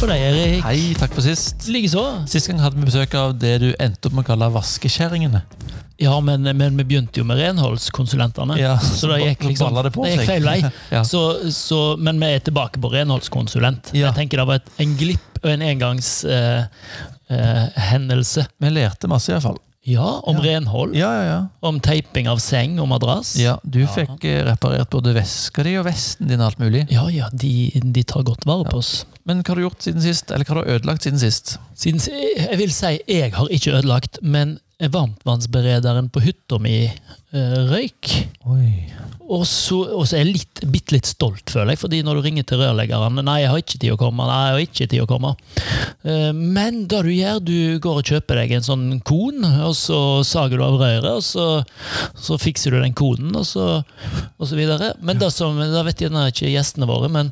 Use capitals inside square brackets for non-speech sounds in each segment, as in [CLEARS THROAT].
på deg, Erik. Hei, takk for sist. Likeså. Sist gang hadde vi besøk av det du endte opp med å kalle vaskekjerringene. Ja, men, men vi begynte jo med renholdskonsulentene. Ja, så [LAUGHS] det gikk, ba- liksom, ballet det det på gikk seg. feil vei. [LAUGHS] Ja. så, så, men vi er tilbake på renholdskonsulent. Ja. Jeg tenker Det var et, en glipp og en engangshendelse. Eh, hendelse. Vi lærte masse, iallfall. ja, om Ja. renhold. Ja, ja, ja. Om teiping av seng og madrass. ja du fikk eh, reparert både veska di og vesten din og alt mulig. ja, ja, de, de tar godt vare på oss. Men hva har du gjort siden sist? Eller hva har du ødelagt siden sist? Siden, jeg vil si jeg har ikke ødelagt, men varmtvannsberederen på hytta mi eh, røyk. Oi. Og så, og så er jeg litt, bitte litt stolt, føler jeg. fordi når du ringer til rørleggeren 'Nei, jeg har ikke tid å komme.' nei, jeg har ikke tid å komme. Eh, Men det du gjør, du går og kjøper deg en sånn kon, og så sager du av røret, og så, så fikser du den konen, og så, og så videre. Men det som, da vet gjerne ikke gjestene våre, men,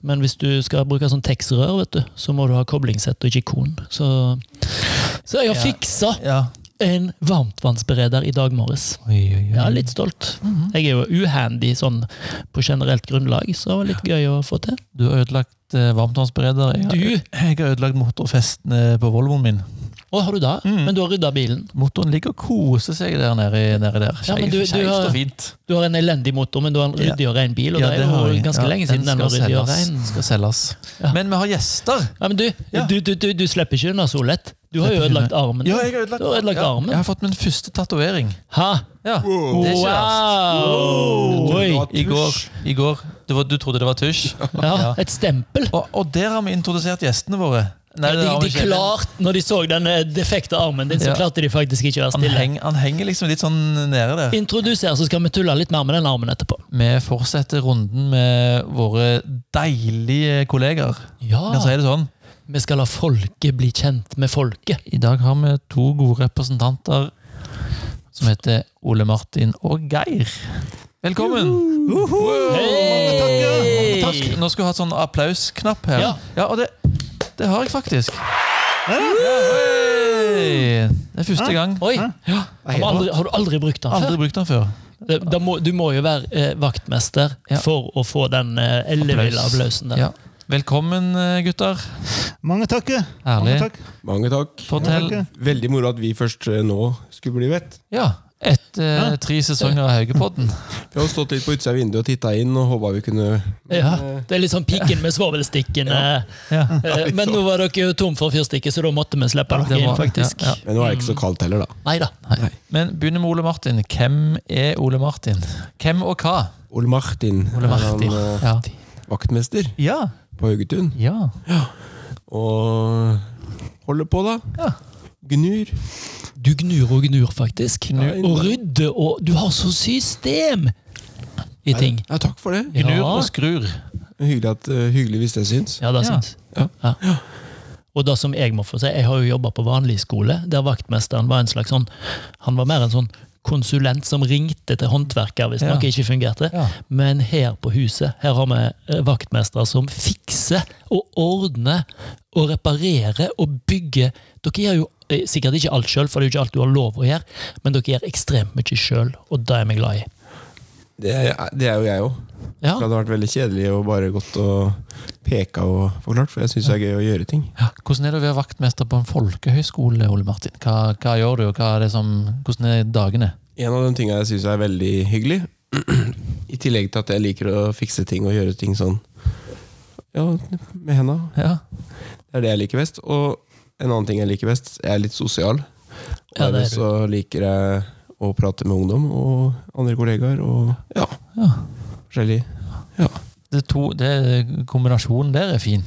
men hvis du skal bruke sånn TEX-rør, vet du, så må du ha koblingssett og ikke kon. Så, så jeg har Ja. fiksa Ja. en varmtvannsbereder i dag morges. Oi, oi, oi. Ja, litt stolt. Jeg er jo uhandy sånn på generelt grunnlag, så det var litt gøy å få til. Du har ødelagt eh, varmtvannsbereder. Jeg, har- Du? jeg har ødelagt motorfestene på Volvoen min. Å, har du det? Mm. Men du har rydda bilen. Motoren ligger og koser seg der nede. nede der. Ja, men Skeiv- du- du Skeivt har- og fint. Du har en elendig motor, men du har en Ja. ryddig og ren bil, og Ja, det er har jeg. jo ganske Ja, lenge siden den var skal ryddig og selges. ren. Skal selges. Ja. Men vi har gjester! Ja, men du, Ja. du, du, du, du slipper ikke unna så lett. Du har jo Slipper ikke ødelagt armen. Ja, jeg har ødelagt, Du har ødelagt ja, armen. Jeg har fått min første tatovering. Hæ? Ja, det er ikke verst. Wow! Oi. I går, i går du, var- du trodde det var tusj. Ja, et stempel. Og, og der har vi introdusert gjestene våre. Nei, Ja, det har de, vi de ikke. klarte, når de så den eh, defekte armen din, så Ja. klarte de faktisk ikke å være han, stille. heng, han henger liksom litt sånn nede der. Introduser, så skal vi tulle litt mer med den armen etterpå. Vi fortsetter runden med våre deilige kollegaer. Ja. Kan jeg si det sånn? Vi skal la folket bli kjent med folket. I dag har vi to gode representanter som heter Ole Martin og Geir. Velkommen! Hei! Takk. Nå skal du ha sånn applausknapp her. Ja. og det, det har jeg faktisk. Hei! Det er første gang. Oi! Har, du aldri, har du aldri brukt den før? Aldri brukt den før. Det- Da må, du må jo være eh, vaktmester Ja. for å få den eh, elleville Applaus. applausen der. Ja. Velkommen, eh, gutter. Mange takk. ja. Mange Herlig. takk. Mange takk. Fortell. Mange takk, Veldig moro at vi først eh, nå skulle bli vett. Ja, etter tre sesonger av Haugepodden. Vi har jo stått litt på utsida av vinduet og titta inn og håpa vi kunne Ja. Det er litt sånn piggen med svovelstikken. eh, Ja. eh, Men nå var dere jo tom for fyrstikker, så da måtte vi slippe det dere inn, var- faktisk. ja, Men nå er det Mm. ikke så kaldt heller, da. Nei da. Men begynner med Ole Martin. Hvem er Ole Martin? Hvem og hva? Ole Martin Ole Martin. er han, eh, Ja. vaktmester Ja. på Haugetun. ja. Og holder på, da. Ja. Gnur. Du gnur og gnur, faktisk. Gnur. Og rydder og Du har så system i ting. Ja, takk for det. Gnur Ja. og skrur. Hyggelig, at, eh, hyggelig hvis det syns. Ja, det er Ja. sant. Ja. Og det som Jeg må få si, jeg har jo jobba på vanlig skole, der vaktmesteren var en slags sånn Han var mer en sånn konsulent som ringte til håndverker hvis Ja. noe ikke fungerte. Ja. Men her på huset her har vi eh, vaktmestere som fikser og ordner og reparerer og bygger. Dere gjør jo eh, sikkert ikke alt sjøl, for det er jo ikke alt du har lov å gjøre, men dere gjør ekstremt mye sjøl, og det er vi glad i. Det er, det er jo jeg òg. Ja. Det hadde vært veldig kjedelig å bare gått og peka og forklart, for jeg syns det er gøy å gjøre ting. Ja. Hvordan er det å være vaktmester på en folkehøyskole, Ole Martin? Hva, hva gjør du, og hva er det som, hvordan er dagene? En av de tingene jeg syns er veldig hyggelig, [CLEARS THROAT] i tillegg til at jeg liker å fikse ting og gjøre ting sånn Ja, med henda. Ja. Det er det jeg liker best. Og en annen ting jeg liker best, jeg er litt sosial. Og Ja, det er dermed du. så liker jeg å prate med ungdom og andre kollegaer og ja, ja. forskjellig. Ja. Det to, det, kombinasjonen der er fin.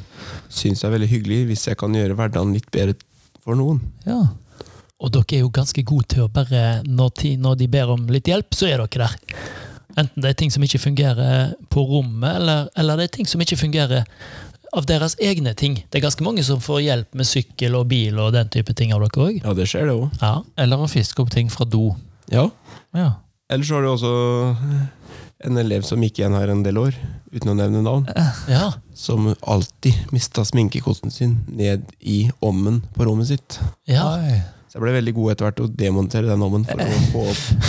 Syns jeg er veldig hyggelig hvis jeg kan gjøre hverdagen litt bedre for noen. Ja. Og dere er jo ganske gode til å bare når, ti- når de ber om litt hjelp, så er dere der. Enten det er ting som ikke fungerer på rommet, eller, eller det er ting som ikke fungerer av deres egne ting. Det er ganske mange som får hjelp med sykkel og bil og den type ting av dere òg. Ja, det skjer, det òg. Ja. Eller å fiske opp ting fra do. Ja. Ja. Ellers så har du også en elev som gikk igjen her en del år, uten å nevne navn. ja. som alltid mista sminkekosten sin ned i ommen på rommet sitt. ja. Oi. Så jeg ble veldig god etter hvert å demontere den ommen for å få opp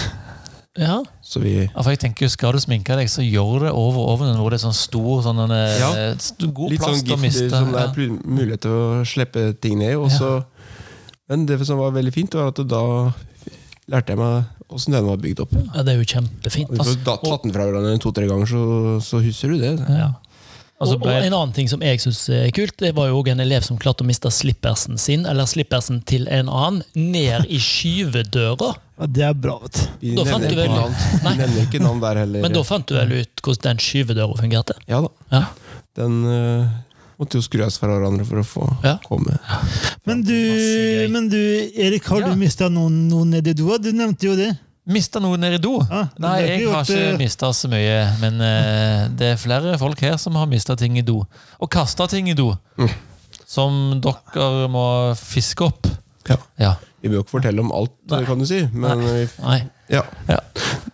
Ja. Så vi Ja, for jeg tenker, Skal du sminke deg, så gjør det over ovnen hvor det er sånn stor sånn en, eh, Ja. st- God Litt plass sånn til å miste. giftig som det Ja. er pl- mulighet til å slippe ting ned. Og så, Men det som var veldig fint, var at da lærte jeg meg åssen den var bygd opp. ja, det er jo kjempefint. Hvis du har tatt den fra hverandre to-tre ganger, så, så husker du det. Ja. Og så Og, ble og en annen ting som jeg syns er kult, det var jo også en elev som klarte å miste slippersen sin, eller slippersen til en annen, ned i skyvedøra. Ja, det er bra, vet du. Vi Da fant nevner du ikke vel- [LAUGHS] navn. Vi nevner ikke navn der heller. Men da fant du vel ut hvordan den skyvedøra fungerte? Ja da. Ja. Den øh, måtte jo skrus fra hverandre for å få Ja. komme. Men du, Masse gøy. men du Erik, har Ja. du mista noen, noen nedi doa? Du nevnte jo det. Mista noe ned i do? Ja, det Nei, ble jeg ikke har gjort, ikke eh, mista så mye. Men eh, det er flere folk her som har mista ting i do. Og kasta ting i do. Mm. Som dere må fiske opp. Ja. Ja. Vi bør jo ikke fortelle om alt, Nei. kan du si. Men vi, Nei. ja. Ja.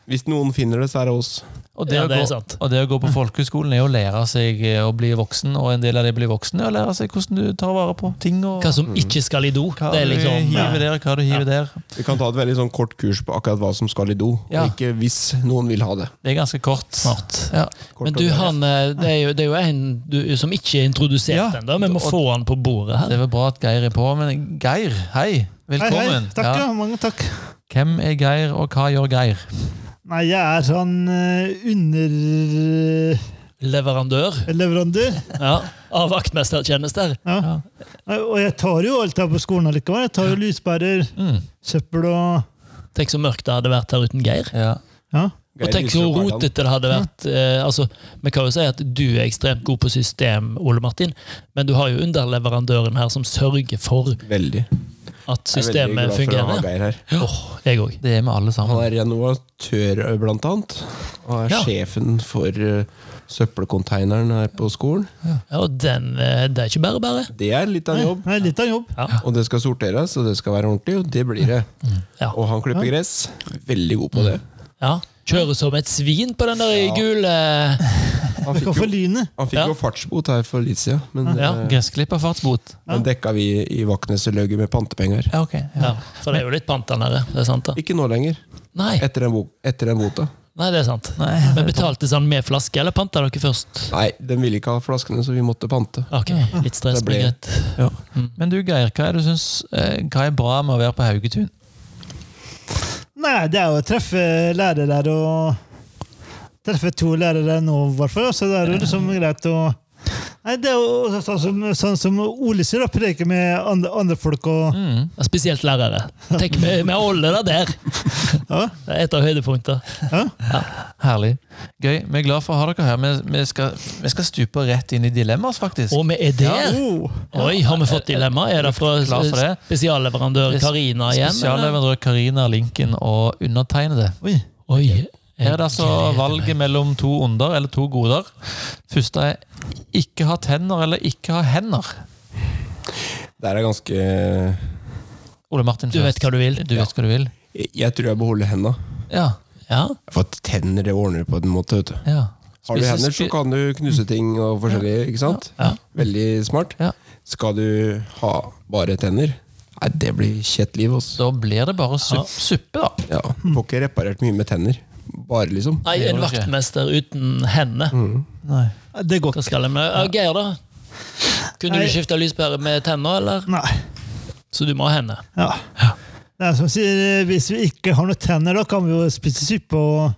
hvis noen finner det, så er det oss. Og det, Ja, å det er gå, sant. og det å gå på folkehøyskolen er å lære seg eh, å bli voksen, og en del av det å bli voksen er å lære seg hvordan du tar vare på ting. og Hva Mm. som ikke skal i do. hva Det er liksom du hiver der, hva du hiver der. Vi kan ta et veldig sånn kort kurs på akkurat hva som skal i do. Ja. Og ikke hvis noen vil ha det. Det er ganske kort. smart. Ja. Kort Men og du, greit. han, eh, det er jo, det er jo en du, som ikke er introdusert Ja. ennå. Vi må Og- få han på bordet Det her. er vel bra at Geir er på, men Geir, hei! Hei, hei. Velkommen. Takk, Ja. ja. Mange takk. Hvem er Geir, og hva gjør Geir? Nei, jeg er sånn underleverandør Leverandør ja, av vaktmestertjenester. eh, Ja. Ja. Nei, Og jeg tar jo alt her på skolen allikevel. Jeg tar jo lyspærer, Mm. søppel og Tenk så mørkt det hadde vært her uten Geir. Ja. Ja. Og Geir tenk så viser opp hverdagen. rotete det hadde vært. Eh, altså, vi kan jo si at du er ekstremt god på system, Ole Martin, men du har jo underleverandøren her som sørger for at Veldig. Jeg er veldig systemet glad for å ha fungerer. Geir her. Åh, jeg òg. Det er vi alle Han sammen. er renovatør, blant annet. Han er Ja. sjefen for øh, søppelkonteineren her på skolen. Ja, og den, eh, det er ikke bare bare. Det er litt av en jobb. Nei, litt av en jobb. Og det skal sorteres, og det skal være ordentlig, og det blir det. Mm. Ja. Mm. Og han klipper gress. Veldig god på det. Ja. Kjører som et svin på den der Ja. gule Han Du fikk kan få jo, lynet. han fikk Ja. jo fartsbot her for litt siden, men Ja. eh, Gressklipperfartsbot. den dekka vi i Vakneseløget med pantepenger. Ja, ok. Ja. Ja, for det er jo litt pant der nede. Det er sant, det. Ikke nå lenger. Nei, Etter den, bo- etter den bota. nei, det er sant. Nei. Men betalte han med flaske, eller panta dere først? Nei, den ville ikke ha flaskene, så vi måtte pante. Ok, litt stress, Det men ble- greit. Ja. Men du, Geir, hva er, det du syns, eh, hva er bra med å være på Haugetun? Nei, det er jo å treffe lærere og Treffe to lærere nå, i hvert fall. Så det er jo liksom greit å Nei, det er jo også sånn som, sånn som Ole sier, da. Preke med andre, andre folk og Mm. Ja, Spesielt lærere. Tenk, vi vi holder det der! Ja. Det er et av høydepunktene. ja. Herlig. Gøy. Vi er glad for å ha dere her. Vi, vi, skal, vi skal stupe rett inn i dilemmaer, faktisk. Og vi er der! Oh. Oi, har vi fått dilemma? Er det fra Klar for det? spesialleverandør Karina igjen? eller? Spesialleverandør Karina Linken og undertegnede. Oi. Oi. Her er det altså valget mellom to onder eller to goder. Første er ikke ha tenner eller ikke ha hender. Det er ganske Ole Martin Du vet hva du vil. Du vet hva du vil. Jeg jeg tror jeg beholder henda. Ja. Ja. For at tenner det ordner du på en måte, vet du. ja. Har du Spise- hender, så spi- kan du knuse ting og forskjellig, ikke sant? Ja. Veldig smart. Ja. Skal du ha bare tenner? Nei, det blir kjett liv, altså. Da blir det bare Ja. supp, suppe, da. Ja, Får ikke reparert mye med tenner. Bare, liksom. Nei, en vaktmester uten hender. Nei. Det går Hva skal jeg med? Ja, Geir, da? Kunne du Nei. skifta lyspære med tenner, eller? ikke. Nei. Så du må ha hender. Ja. Det er som sier, hvis vi ikke har noen tenner, da kan vi jo spise suppe og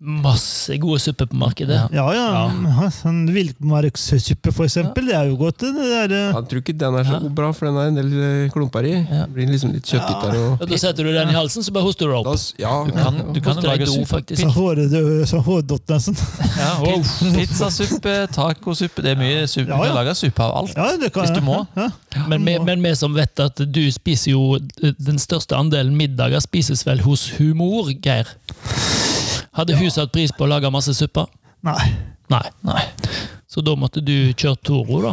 Mm. Masse gode supper på markedet. Ja, ja. ja. Sånn villmarkssuppe, for eksempel. Det er jo godt. det. Det er, eh, Jeg tror ikke den er så bra, for den er en del eh, klumper i. Det blir liksom litt kjøttbitter og Ja, Da setter du den i halsen, så bare hoster du Da opp. s- Ja, Du kan, du kan Koster lage deg do, suppe. faktisk. sånn hård- Sånn hårdott, nesten. Ja, wow. Pizzasuppe, tacosuppe Det er mye suppe. Ja, Du ja. kan lage suppe av alt. Ja, det kan Hvis du jeg. må. Ja. Men vi, men vi som vet at du spiser jo Den største andelen middager spises vel hos humor, Geir? Hadde hun satt pris på å lage masse supper? Nei. Nei. Så da måtte du kjørt Toro, da?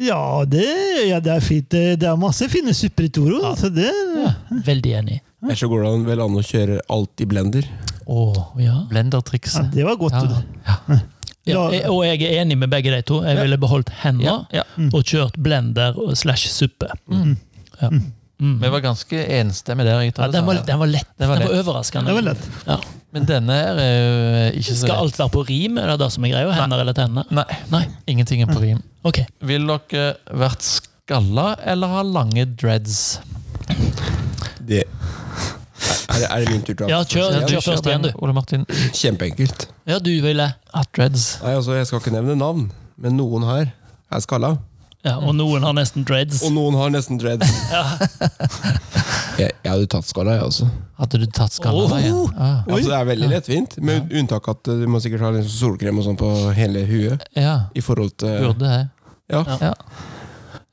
Ja, det, ja, det er fint. Det det er masse fine supper i Toro. Så det, Veldig enig. Ellers så går det an- vel an å kjøre alt i blender. Oh, Ja. ja, Blendertrikset. det var godt. Ja. Ja, La- og jeg er enig med begge de to. Mm. Jeg ville beholdt henda Ja. og kjørt blender og slash suppe. Ja. Vi var ganske enstemmige der. jeg tror Ja, det den, var, samme. den var lett. Den var, var lett. overraskende. Det var lett. Ja. Men denne her er jo ikke så Skal lett. alt være på rim? Er det det som er greia? Hender eller tenner? Nei, Nei. ingenting er på rim. Ok. Vil dere vært skalla eller ha lange dreads? Det. Er, det- er det min tur til å Ja, kjør, Ja, kjør først igjen, du. Ole Martin. Kjempeenkelt. Ja, du ville. Ha dreads. Nei, altså, jeg skal ikke nevne navn, men noen her er skalla. Ja, Mm. og noen har nesten dreads. Og noen har nesten dreads. [LAUGHS] jeg, jeg hadde tatt skalla, jeg også. Hadde du tatt skalla Oh. da igjen? Ah, Altså, det er veldig lettvint, med unntak at eh, du må sikkert ha litt solkrem og sånn på hele huet. ja, I forhold til burde jeg. Ja. Ja.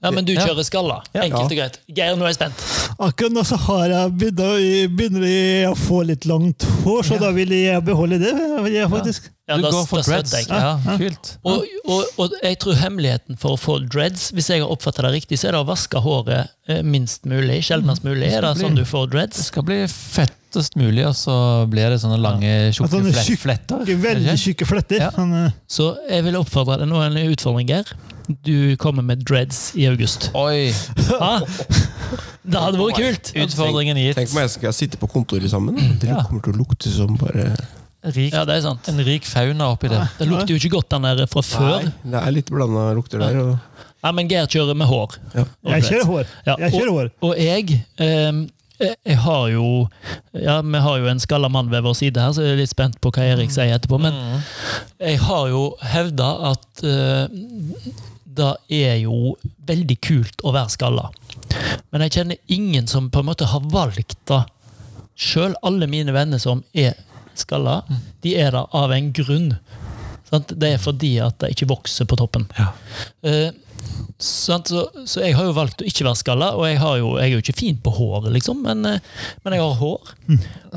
Ja, Men du Ja. kjører skalla. Enkelt og greit. Geir, nå er jeg spent. Akkurat nå så har jeg begynner, begynner jeg å få litt langt hår, så da vil jeg beholde det. vil jeg faktisk. Ja, Du da- går for da støtter dreads. jeg. Ja, kult. Og, og, og jeg tror hemmeligheten for å få dreads, hvis jeg har oppfatta det riktig, så er det å vaske håret eh, minst mulig. Sjeldnest mulig. Er det Mm. bli- sånn du får Det dreads? skal bli fettest mulig, og så blir det sånne lange, tjukke sånne flet- tjukke- fletter. Ikke Veldig Ikke? tjukke fletter. Ja. Sånn, eh, Så jeg vil oppfordre deg nå er det en utfordring, Geir. Du kommer med dreads i august. Oi! Hæ? Det hadde vært kult! Utfordringen gitt. Tenk om jeg skal sitte på kontoret sammen. da. Det Ja. kommer til å lukte som bare Rik, Ja, det er sant. en rik fauna oppi der. Det lukter jo ikke godt den der fra før. Nei, det er litt blanda lukter der. Og Nei, men Geir kjører med hår. Ja. Og jeg dreads. kjører hår. Ja, Jeg kjører hår. Og jeg ehm, jeg jeg har jo ja, Vi har jo en skalla mann ved vår side her, så jeg er litt spent på hva Erik sier etterpå. Men jeg har jo hevda at eh, det er jo veldig kult å være skalla. Men jeg kjenner ingen som på en måte har valgt det sjøl. Alle mine venner som er skalla, de er det av en grunn. Sant? Det er fordi at det ikke vokser på toppen. Eh, Sant? Så, så jeg har jo valgt å ikke være skalla, og jeg, har jo, jeg er jo ikke fin på håret, liksom, men, eh, men jeg har hår.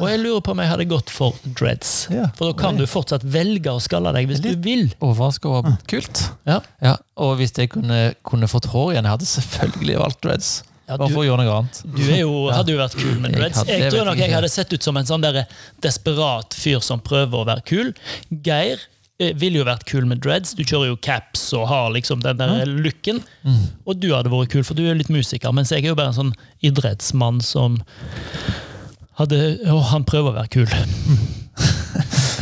Og jeg lurer på om jeg hadde gått for dreads. Mm. Ja. For da kan du fortsatt velge å skalle deg hvis du Litt. vil. Overraska og kult. Mm. Ja. Ja, og hvis jeg kunne, kunne fått hår igjen, jeg hadde selvfølgelig valgt dreads. Ja, Bare du- for å gjøre noe annet. Du er jo, hadde jo vært kul med Jeg dreads. hadde- Jeg, jeg vet tror nok jeg ikke. hadde sett ut som en sånn der desperat fyr som prøver å være kul. Geir eh, ville jo vært kul med dreads. Du kjører jo caps og har liksom den der looken. Mm. Og du hadde vært kul, for du er jo litt musiker, mens jeg er jo bare en sånn idrettsmann som hadde, å, han prøver å være kul.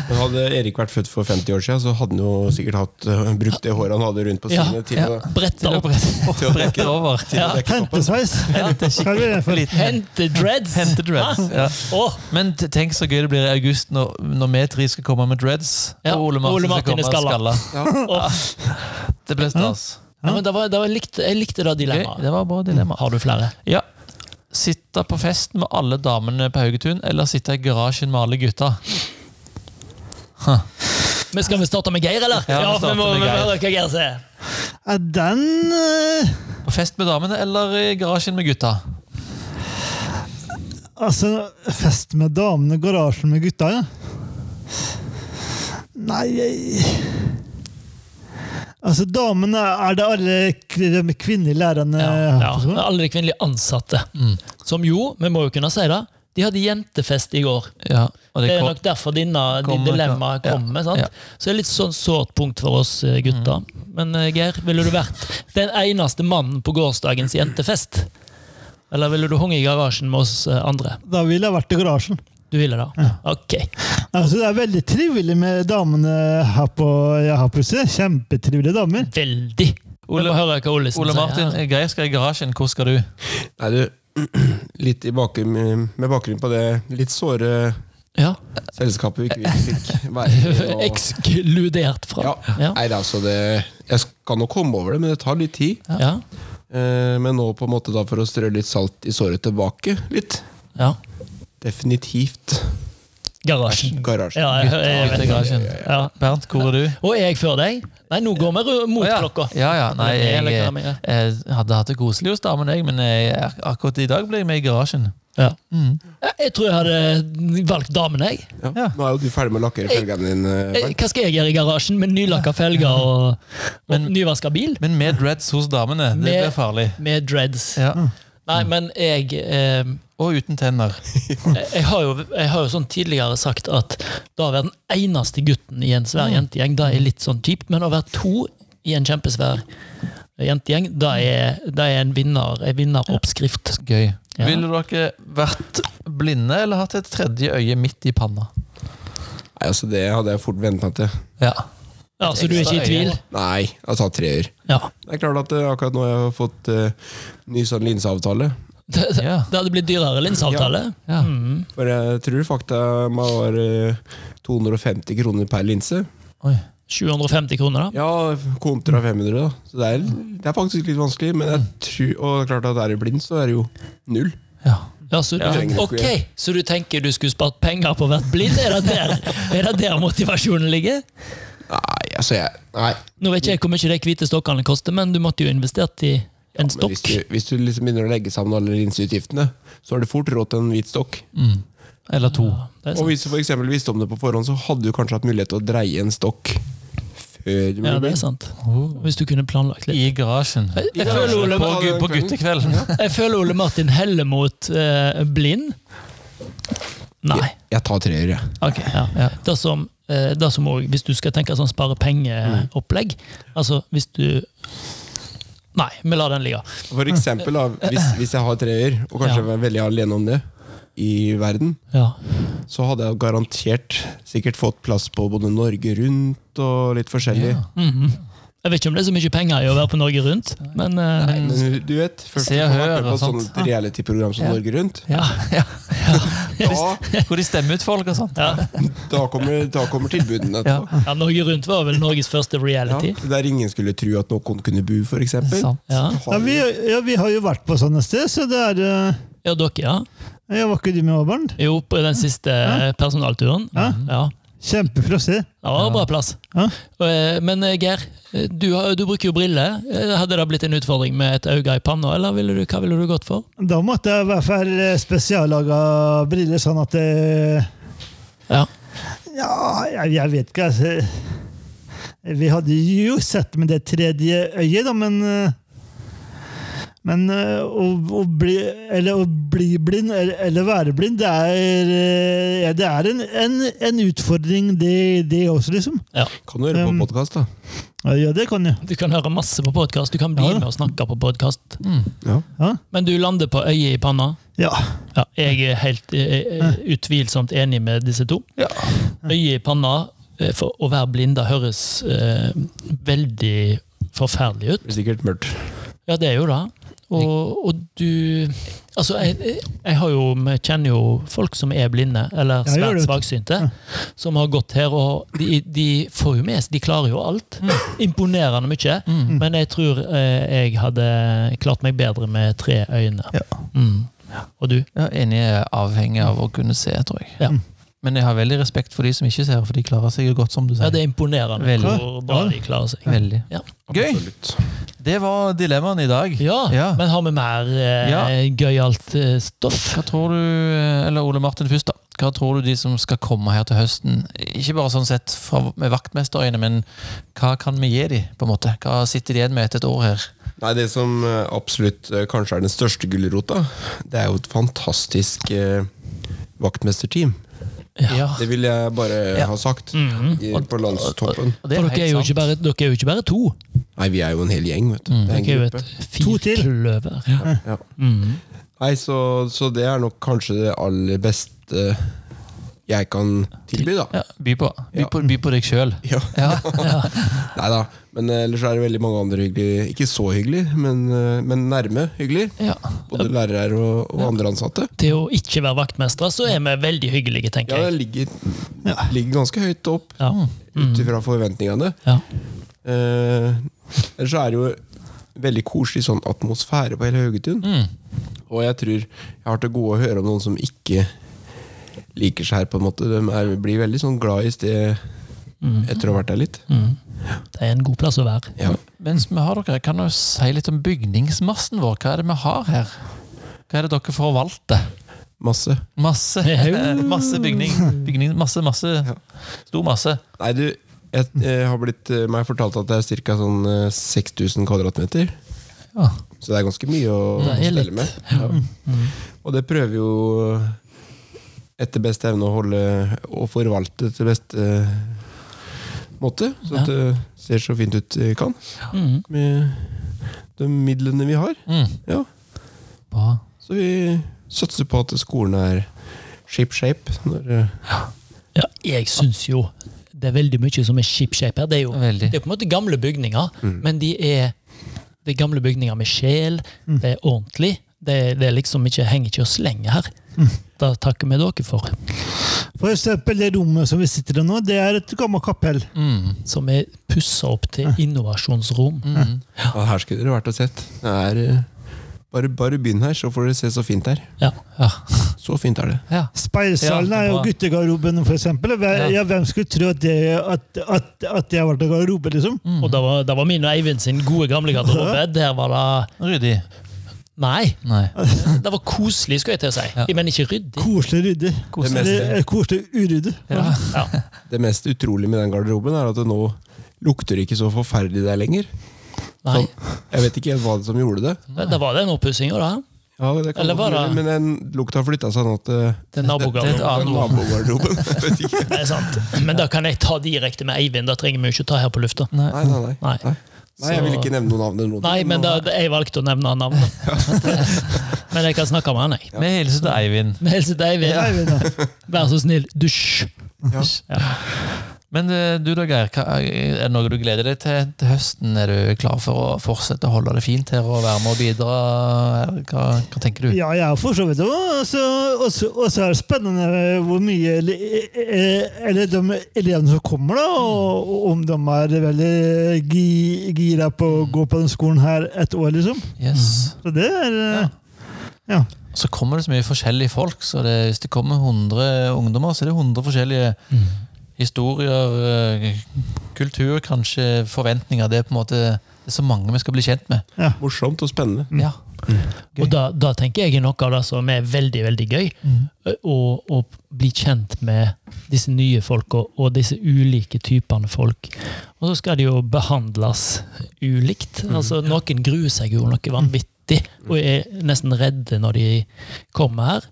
Men hadde Erik vært født for 50 år siden, så hadde han jo sikkert hatt, øh, brukt det håret han hadde rundt på Ja, sidene til, ja. å- Brette Til å opp. [LAUGHS] brette, til å brette [LAUGHS] over. til å dekke toppen. Hentesveis. Hva er det for? Hente dreads! Hente dreads. Hæ? Ja. Åh, Men t- tenk så gøy det blir i august når, når vi tre skal komme med dreads. Ja, Og Ole Martin, Ole Martin er skal komme skalla. med skalla. åh. Det ble stas. Nei, men det var, det var, jeg, likte, jeg likte det Gøy, dilemmaet. Det var bra dilemma. Har du flere? Ja. Sitte på fest med alle damene på Haugetun, eller sitte i garasjen med alle gutta? Men skal vi starte med Geir, eller? Ja, vi starter med Geir. høre hva Geir sier. Ja, den eh, På fest med damene eller i garasjen med gutta? Altså, fest med damene, garasjen med gutta, ja. Nei jeg... Altså, damene er det alle k- de kvinnelige lærerne Ja, ja. har på skolen? Alle de kvinnelige ansatte. Mm. Som jo, vi må jo kunne si det, de hadde jentefest i går. Ja, og Det det er kom, nok derfor dine, de kommer- dilemmaer ja, kommer. ja. Mm. sant? Så det er litt sånn sårt punkt for oss eh, gutter. Men eh, Geir, ville du vært den eneste mannen på gårsdagens jentefest? Eller ville du hunget i garasjen med oss eh, andre? Da ville jeg vært i garasjen. Du ville det? Ok. Altså, det er veldig trivelig med damene her på, jeg har på huset. Kjempetrivelige damer. Veldig. Ole- Ole, høre hva Olesen Ole Martin, sier. her. [LAUGHS] Geir skal i garasjen. Hvor skal du? Nei, du, [CLEARS THROAT] litt i bakgrunn, med bakgrunn på det litt såre Ja. selskapet vi ikke [LAUGHS] fikk være i. og- Ekskludert fra. Ja. Ja. Nei, det er altså det Jeg skal nok komme over det, men det tar litt tid. Ja. Eh, Men nå på en måte da for å strø litt salt i såret tilbake litt. ja. Definitivt Garasjen. garasje. Ja, jeg, jeg Gutta i vet det. garasjen. Ja. Bernt, hvor er du? Og jeg før deg? Nei, nå går vi ru- mot Å, ja. klokka. Ja, ja. Nei, Eller jeg, eh, hva jeg, det er. hadde hatt det koselig hos damen, jeg, men jeg, akkurat i dag ble jeg med i garasjen. Ja. Jeg- Jeg tror jeg hadde valgt damene. Jeg. Ja. Ja. Nå er jo du ferdig med å lakkere felgene dine. Eh, Bernt. Hva skal jeg gjøre i garasjen med nylakka felger og, og Men- nyvaska bil? Men med dreads hos damene. Det Med- blir farlig. Med dreads. Ja. Nei, men jeg eh, Og uten tenner. jeg, jeg har jo, jeg har jo sånn tidligere sagt at da å være den eneste gutten i en svær jentegjeng, det er litt sånn kjipt. Men å være to i en kjempesvær jentegjeng, det er, det er en vinner, en vinneroppskrift. Gøy. Ja. Ville dere vært blinde eller hatt et tredje øye midt i panna? Nei, altså Det hadde jeg fort venta til. Ja. Ja, Så du er ikke i tvil? Nei, jeg har tatt treer. Ja. Det er klart at eh, akkurat nå har jeg fått eh, ny sånn linseavtale. Det, det Ja. det hadde blitt dyrere linseavtale. Ja. For jeg tror fakta meg var eh, 250 kroner per linse. Oi. 750 kroner, da. Ja, kontra 500, da. Så det er, det er faktisk litt vanskelig. Men jeg tror, og det er klart at er du blind, så er det jo null. Ja. Ja, så, Ja. ok, så du tenker du skulle spart penger på å være blind? Er det der, er det der motivasjonen ligger? Nei, altså jeg Nei. Nå vet ikke jeg hvor mye de hvite stokkene koster, men du måtte jo investert i en Men hvis stokk. du, hvis du liksom begynner å legge sammen alle linseutgiftene, så har du fort råd til en hvit stokk. Eller to. Det er Og sant. hvis du for eksempel visste om det på forhånd, så hadde du kanskje hatt mulighet til å dreie en stokk før du ble Ja, det er blind. sant. Hvis du kunne planlagt litt. I garasjen. Jeg føler Ole, På, gu- på guttekvelden. jeg føler Ole Martin heller mot eh, blind. Nei. Jeg tar treer, jeg. Ok. Ja. Ja. Det som, eh, det som også, hvis du skal tenke sånn spare pengeopplegg Altså, hvis du Nei, vi lar den ligge. For eksempel, da, hvis, hvis jeg har treer, og kanskje Ja. jeg er veldig alene om det i verden, Ja. så hadde jeg garantert sikkert fått plass på både Norge Rundt og litt forskjellig. Mhm. Jeg vet ikke om det er så mye penger i å være på Norge Rundt, men eh, Men du vet, først Se og har jeg vært Hør med og på et sånt. sånt reality-program som Norge Rundt. Ja. Ja. Da, Hvor de stemmer ut folk og sånt. ja. da, kommer, da kommer tilbudene etterpå. ja, Norge Rundt var vel Norges første Ja, reality. der ingen skulle tro at noen kunne bo, for eksempel. Sant. Ja, Ja, vi, ja, vi har jo vært på sånne sted, så det er eh, ja dere, ja. Jeg var ikke du med, Åbern? Jo, på den siste eh, personalturen. Ja. Ja. Kjempeflott sted. Det var en bra plass. Ja. Eh, Men eh, Geir, eh, du, har- du bruker jo briller. Eh, Hadde det blitt en utfordring med et øye i panna, eller ville du, hva ville du gått for? Da måtte jeg i hvert fall eh, spesiallaga briller, sånn at det Ja. Ja, jeg, jeg vet ikke, altså. Vi hadde jo sett med det tredje øyet, da, men eh, Men eh, å, å, bli, eller, å bli blind, eller, eller være blind, det er, eh, ja, det er en, en, en utfordring, det, det også, liksom. ja. Kan du høre Mm. på Um, podkast, da? Ja, det kan jeg. Du kan høre masse på podkast. Du kan bli Ja, da. med og snakke på podkast. Mm, Ja. Ja. Men du lander på øyet i panna. ja. Ja, jeg er helt eh, eh, utvilsomt enig med disse to. Øyet i panna eh, for å være blind, det høres eh, veldig forferdelig ut. Det blir sikkert mørkt. Ja, det er jo det. Og, og du Altså, jeg, jeg har jo, vi kjenner jo folk som er blinde, eller Ja, gjør svært det. svaksynte, som har gått her, og de, de får jo med seg De klarer jo alt. Mm. Imponerende mye. mm. Men jeg tror eh, jeg hadde klart meg bedre med tre øyne. Ja. Mm. Og du? Ja, enig er avhengig av å kunne se, tror jeg. Ja. Men jeg har veldig respekt for de som ikke ser, for de klarer seg jo godt, som du Ja, sier. det er imponerende Veldig. hvor bra Ja. de klarer seg. Veldig. Ja. Gøy! Absolutt. Det var dilemmaen i dag. Ja, Ja. men har vi mer eh, Ja. gøyalt eh, stoff? Hva tror du, eller Ole Martin først, da. Hva tror du de som skal komme her til høsten Ikke bare sånn sett fra, med vaktmesterøyne, men hva kan vi gi dem, på en måte? Hva sitter de igjen med etter et år her? Nei, Det som eh, absolutt eh, kanskje er den største gulrota, det er jo et fantastisk eh, vaktmesterteam. Ja. Det vil jeg bare Ja. ha sagt. Mhm. i, på landstoppen. Og det For er dere er, helt jo sant. ikke bare, dere er jo ikke bare to. Nei, vi er jo en hel gjeng, vet du. Det er en Dere er jo gruppe. et To til. firkløver. Ja. Ja. Mm. Nei, så, så det er nok kanskje det aller beste jeg kan tilby, da. ja, by, på. By, Ja. på, by på deg sjøl. Ja. Ja. Nei da. Men eh, ellers er det veldig mange andre hyggelige Ikke så hyggelige, men, eh, men nærme hyggelige. Ja. Både lærere og, og andre ansatte. til å ikke være vaktmestere, så er vi veldig hyggelige, Ja, tenker det jeg. ligger, ligger ganske høyt opp Ja. ut ifra forventningene. Ja. Eh, ellers så er det jo veldig koselig sånn atmosfære på hele Haugetun. Og jeg tror jeg har til gode å høre om noen som ikke liker seg her, på en måte. De er, blir veldig sånn glad i sted etter å ha vært der litt. Det er en god plass å være. Ja. Mens vi har dere, kan du si litt om bygningsmassen vår? Hva er det vi har her? Hva er det dere forvalter? Masse. Masse, Jo. [LAUGHS] masse bygning. bygning. Masse, masse. Stor masse. Nei, du, jeg, jeg har blitt eh, meg fortalt at det er ca. Sånn eh, 6000 kvadratmeter. Ja. Så det er ganske mye å, å Det er litt. stelle med. Ja. Og det prøver jo eh, etter beste evne å holde og forvalte til beste eh, måte. Så at det ser så fint ut det kan. Mm. Med de midlene vi har. Mm. Ja. Bra. Så vi satser på at skolen er ship shape. Når, eh, Ja, jeg syns jo det er veldig mye som er shipshape her. Det er jo Veldig. det er på en måte gamle bygninger, men de er det er gamle bygninger med sjel. Mm. Det er ordentlig. Det, det er liksom ikke, henger ikke og slenger her. Mm. Det takker vi dere for. For eksempel det rommet som vi sitter i nå, det er et gammelt kapell. Mm. Som er pussa opp til innovasjonsrom. ja, her skulle dere vært og sett. Det er eh, bare, bare begynn her, så får dere se så fint det er. Ja. Ja. Så fint er det. ja. Speilsalen Ja, er jo bra. guttegarderoben, for eksempel. Hver, Ja. ja. hvem skulle tro at det, at, at, at det har vært en garderobe, liksom? Mm. Og da var, da var min og Eivind sin gode gamle garderobe. Der var det Ryddig. Nei, Nei. det var koselig, skulle jeg til å si. Ja. Jeg mener ikke ryddig. Koselig ryddig. Koselig. Eller, eh, Koselig uryddig. Ja. Ja. Det mest utrolige med den garderoben er at det nå lukter ikke så forferdelig der lenger. Nei. Sånn, jeg vet ikke hva det som gjorde det. Da var det en oppussing, jo da. Ja, det kan Eller godt bare- gjøre, Men den lukta har flytta seg nå til Til Det er et nabogarderoben. annet [LAUGHS] rom. nabogarderoben. Jeg vet ikke. Det er sant. Men da kan jeg ta direkte med Eivind. Da trenger vi jo ikke ta her på lufta. Mm. Nei, nei, nei. Nei. Nei, jeg vil Så- ikke nevne noen navn. eller noen Nei, ting, men da, nå- jeg valgte å nevne navnet. Men jeg kan snakke med han, jeg. Med hilsen til Eivind. Men helse til Eivind. Eivind, da. Vær så snill, dusj. Men eh, du da, Geir, hva- er det noe du gleder deg til til høsten? Er du klar for å fortsette å holde det fint her og være med og bidra? Hva, hva tenker du? Ja, jeg er for så vidt også. Og så og så er det spennende hvor mye ele- eh, Eller de elevene som kommer, da, og og om de er veldig gi- gira på å gå på den skolen her et år, liksom. Yes. Så det er eh, Så kommer det så mye forskjellige folk. så det, Hvis det kommer 100 ungdommer, så er det 100 forskjellige historier, eh, kultur, kanskje forventninger. Det er på en måte det er så mange vi skal bli kjent med. Morsomt og spennende. Ja. Og da, da tenker jeg er noe av det som er veldig veldig gøy. Mm. Å, å bli kjent med disse nye folka og disse ulike typene folk. Og så skal de jo behandles ulikt. Altså Noen gruer seg jo noe vanvittig og er nesten redde når de kommer her.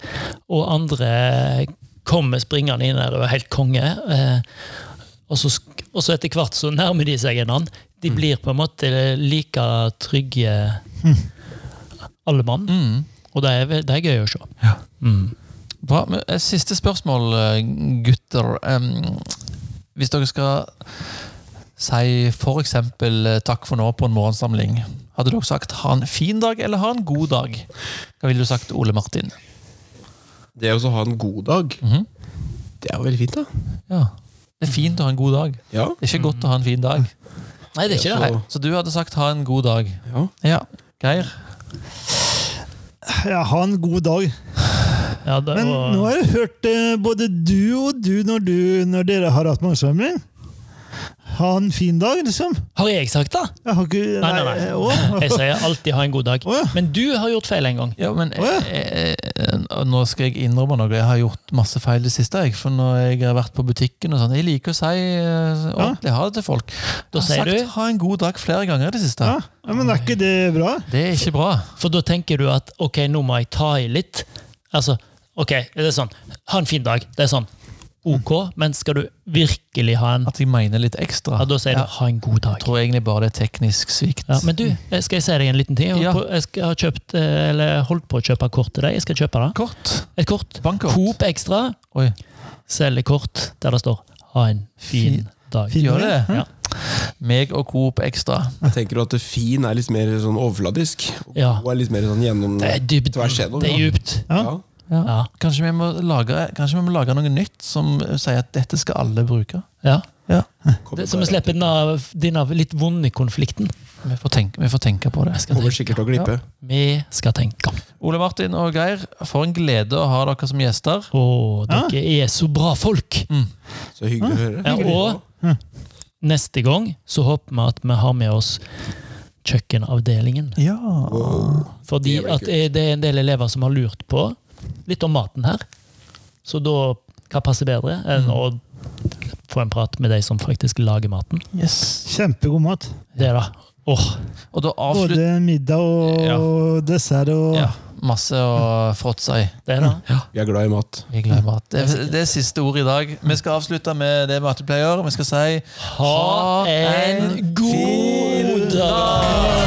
Og andre kommer springende inn her og er helt konge. Eh, og, så, sk- og så etter hvert så nærmer de seg en annen. De blir på en måte like trygge alle mann. Mm. Og det er, ve- det er gøy å se. Ja. Mm. Bra. Men, eh, Siste spørsmål, eh, gutter. Em, Hvis dere skal si f.eks. takk for nå på en morgensamling, hadde dere sagt ha en fin dag eller ha en god dag? Hva ville du sagt, Ole Martin? Det å så ha en god dag, Mhm. det er jo veldig fint, da. Ja. Det er fint å ha en god dag. Ja. Det er ikke godt å ha en fin dag. Nei, det er ikke Ja, det. Nei, så du hadde sagt ha en god dag. ja. Ja. Geir? ja, Ha en god dag. Ja, det Men var- nå har jeg hørt eh, både du og du når, du, når dere har hatt morgensamling. Ha en fin dag, liksom. Har jeg sagt det? Jeg har ikke Nei, nei, nei. eh, å. [LAUGHS] Jeg sier alltid 'ha en god dag'. Å, ja. Men du har gjort feil en gang. Ja, men Å, ja. eh, eh, Nå skal jeg innrømme noe. Jeg har gjort masse feil det siste. Jeg, for når jeg har vært på butikken og sånn Jeg liker å si eh, ordentlig ha det til folk. Da jeg har sier sagt du- ha en god dag flere ganger i det siste. Ja, ja, men er ikke det bra? Det er ikke bra. For da tenker du at 'ok, nå må jeg ta i litt'. Altså, ok, det er sånn 'ha en fin dag'. Det er sånn ok, men skal du virkelig ha en At jeg mener litt Ja, ekstra. da sier du Ja. 'ha en god dag'. Jeg tror egentlig bare det er teknisk svikt. Ja, men du, eh, skal jeg si deg en liten ting? Jeg Ja. har på- Jeg skal, har kjøpt, eh, eller holdt på å kjøpe kort til deg. Jeg skal kjøpe det. Kort. Et kort. Bankkort. Coop Extra Oi. selger kort der det står 'ha en fin Fin- dag'. fin Gjør det? Ja. Meg og Coop Ekstra. Jeg tenker at det fin er litt mer sånn overfladisk. Og Ja. god er litt mer sånn gjennom Det er dypt. tvers gjennom. Det er ja. djupt. Ja. Ja. Kanskje vi, må lage, kanskje vi må lage noe nytt som sier at dette skal alle bruke. Ja. Kommer Det, så vi bare- slipper denne, denne litt vonde konflikten. Vi får tenke, vi får tenke på det. Kommer sikkert til å glippe. Vi skal tenke. Ole Martin og Geir, for en glede å ha dere som gjester. Å, dere er så bra folk! Så hyggelig å høre. Ja, og neste gang så håper vi at vi har med oss kjøkkenavdelingen. Ja. Fordi Det blir at eh, det er en del elever som har lurt på litt om maten her. Så da hva passer bedre enn å få en prat med de som faktisk lager maten? Yes. Kjempegod mat. Det da. Åh, Og da avslutter Både middag og dessert og ja, Masse å fråtse i. det da. Vi er glad i mat. Vi glemmer at det, det er siste ordet i dag. Vi skal avslutte med det matepleier. Vi skal si Ha en god dag!